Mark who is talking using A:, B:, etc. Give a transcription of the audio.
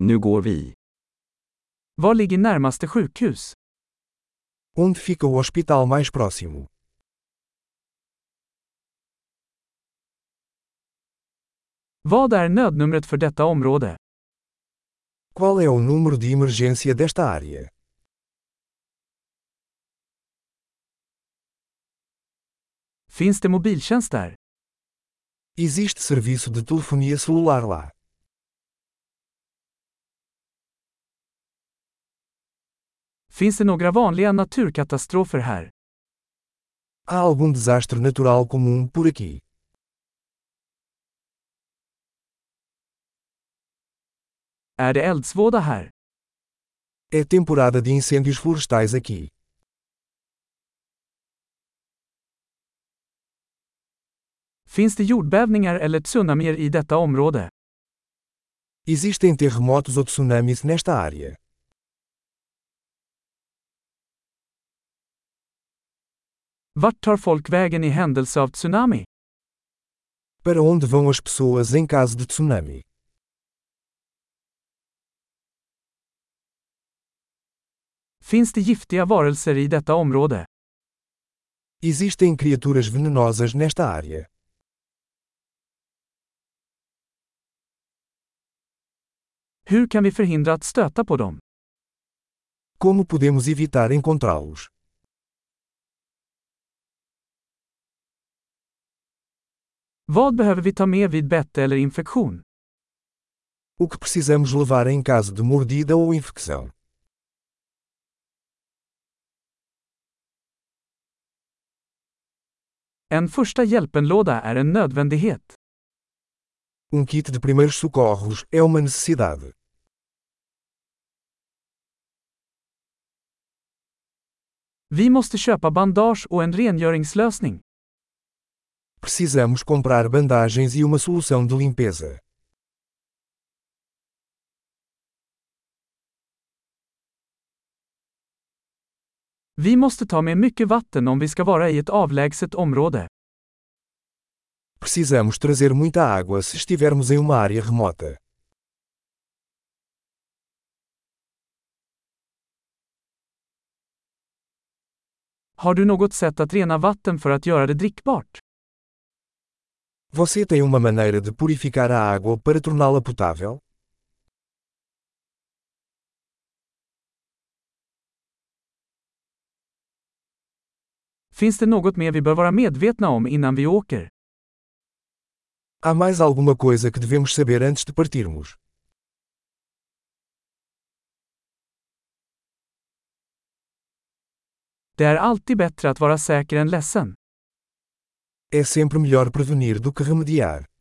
A: Nu går vi.
B: Var ligger närmaste sjukhus?
C: Onde fica o hospital mais próximo?
B: Vad är nödnumret för detta område?
C: Qual é o número de emergência desta área?
B: Finns det mobiltjänst där?
C: Existe serviço de telefonia celular lá.
B: Finns det några vanliga naturkatastrofer här?
C: Há algum desastre natural comum por aqui?
B: Är det eldsvåda här?
C: É temporada de incêndios florestais aqui.
B: Finns det jordbävningar eller tsunamier i detta område?
C: Existem terremotos ou tsunamis nesta área.
B: Vart tar folk vägen i händelse av tsunami?
C: Para onde vão as pessoas em caso de tsunami?
B: Finns det giftiga varelser i detta område?
C: Existem criaturas venenosas nesta área.
B: Hur kan vi förhindra att stöta på dem?
C: Como podemos evitar encontrá-los?
B: Vad behöver vi ta med vid bett eller infektion?
C: O que precisamos levar em caso de mordida ou infecção?
B: En första hjälpenlåda är en nödvändighet.
C: Um kit de primeiros socorros é uma necessidade.
B: Vi måste köpa bandage och en rengöringslösning.
C: Precisamos comprar bandagens e uma solução de limpeza.
B: Vi måste ta med mycket vatten om vi ska vara i ett avlägset område.
C: Precisamos trazer muita água se estivermos em uma área remota.
B: Har du något sätt att rena vatten för att göra det drickbart?
C: Você tem uma maneira de purificar a água para torná-la potável?
B: Finns det något mer vi bör vara medvetna om innan vi åker?
C: Há mais alguma coisa que devemos saber antes de partirmos?
B: Det är alltid bättre att vara säker än ledsen.
C: É sempre melhor prevenir do que remediar.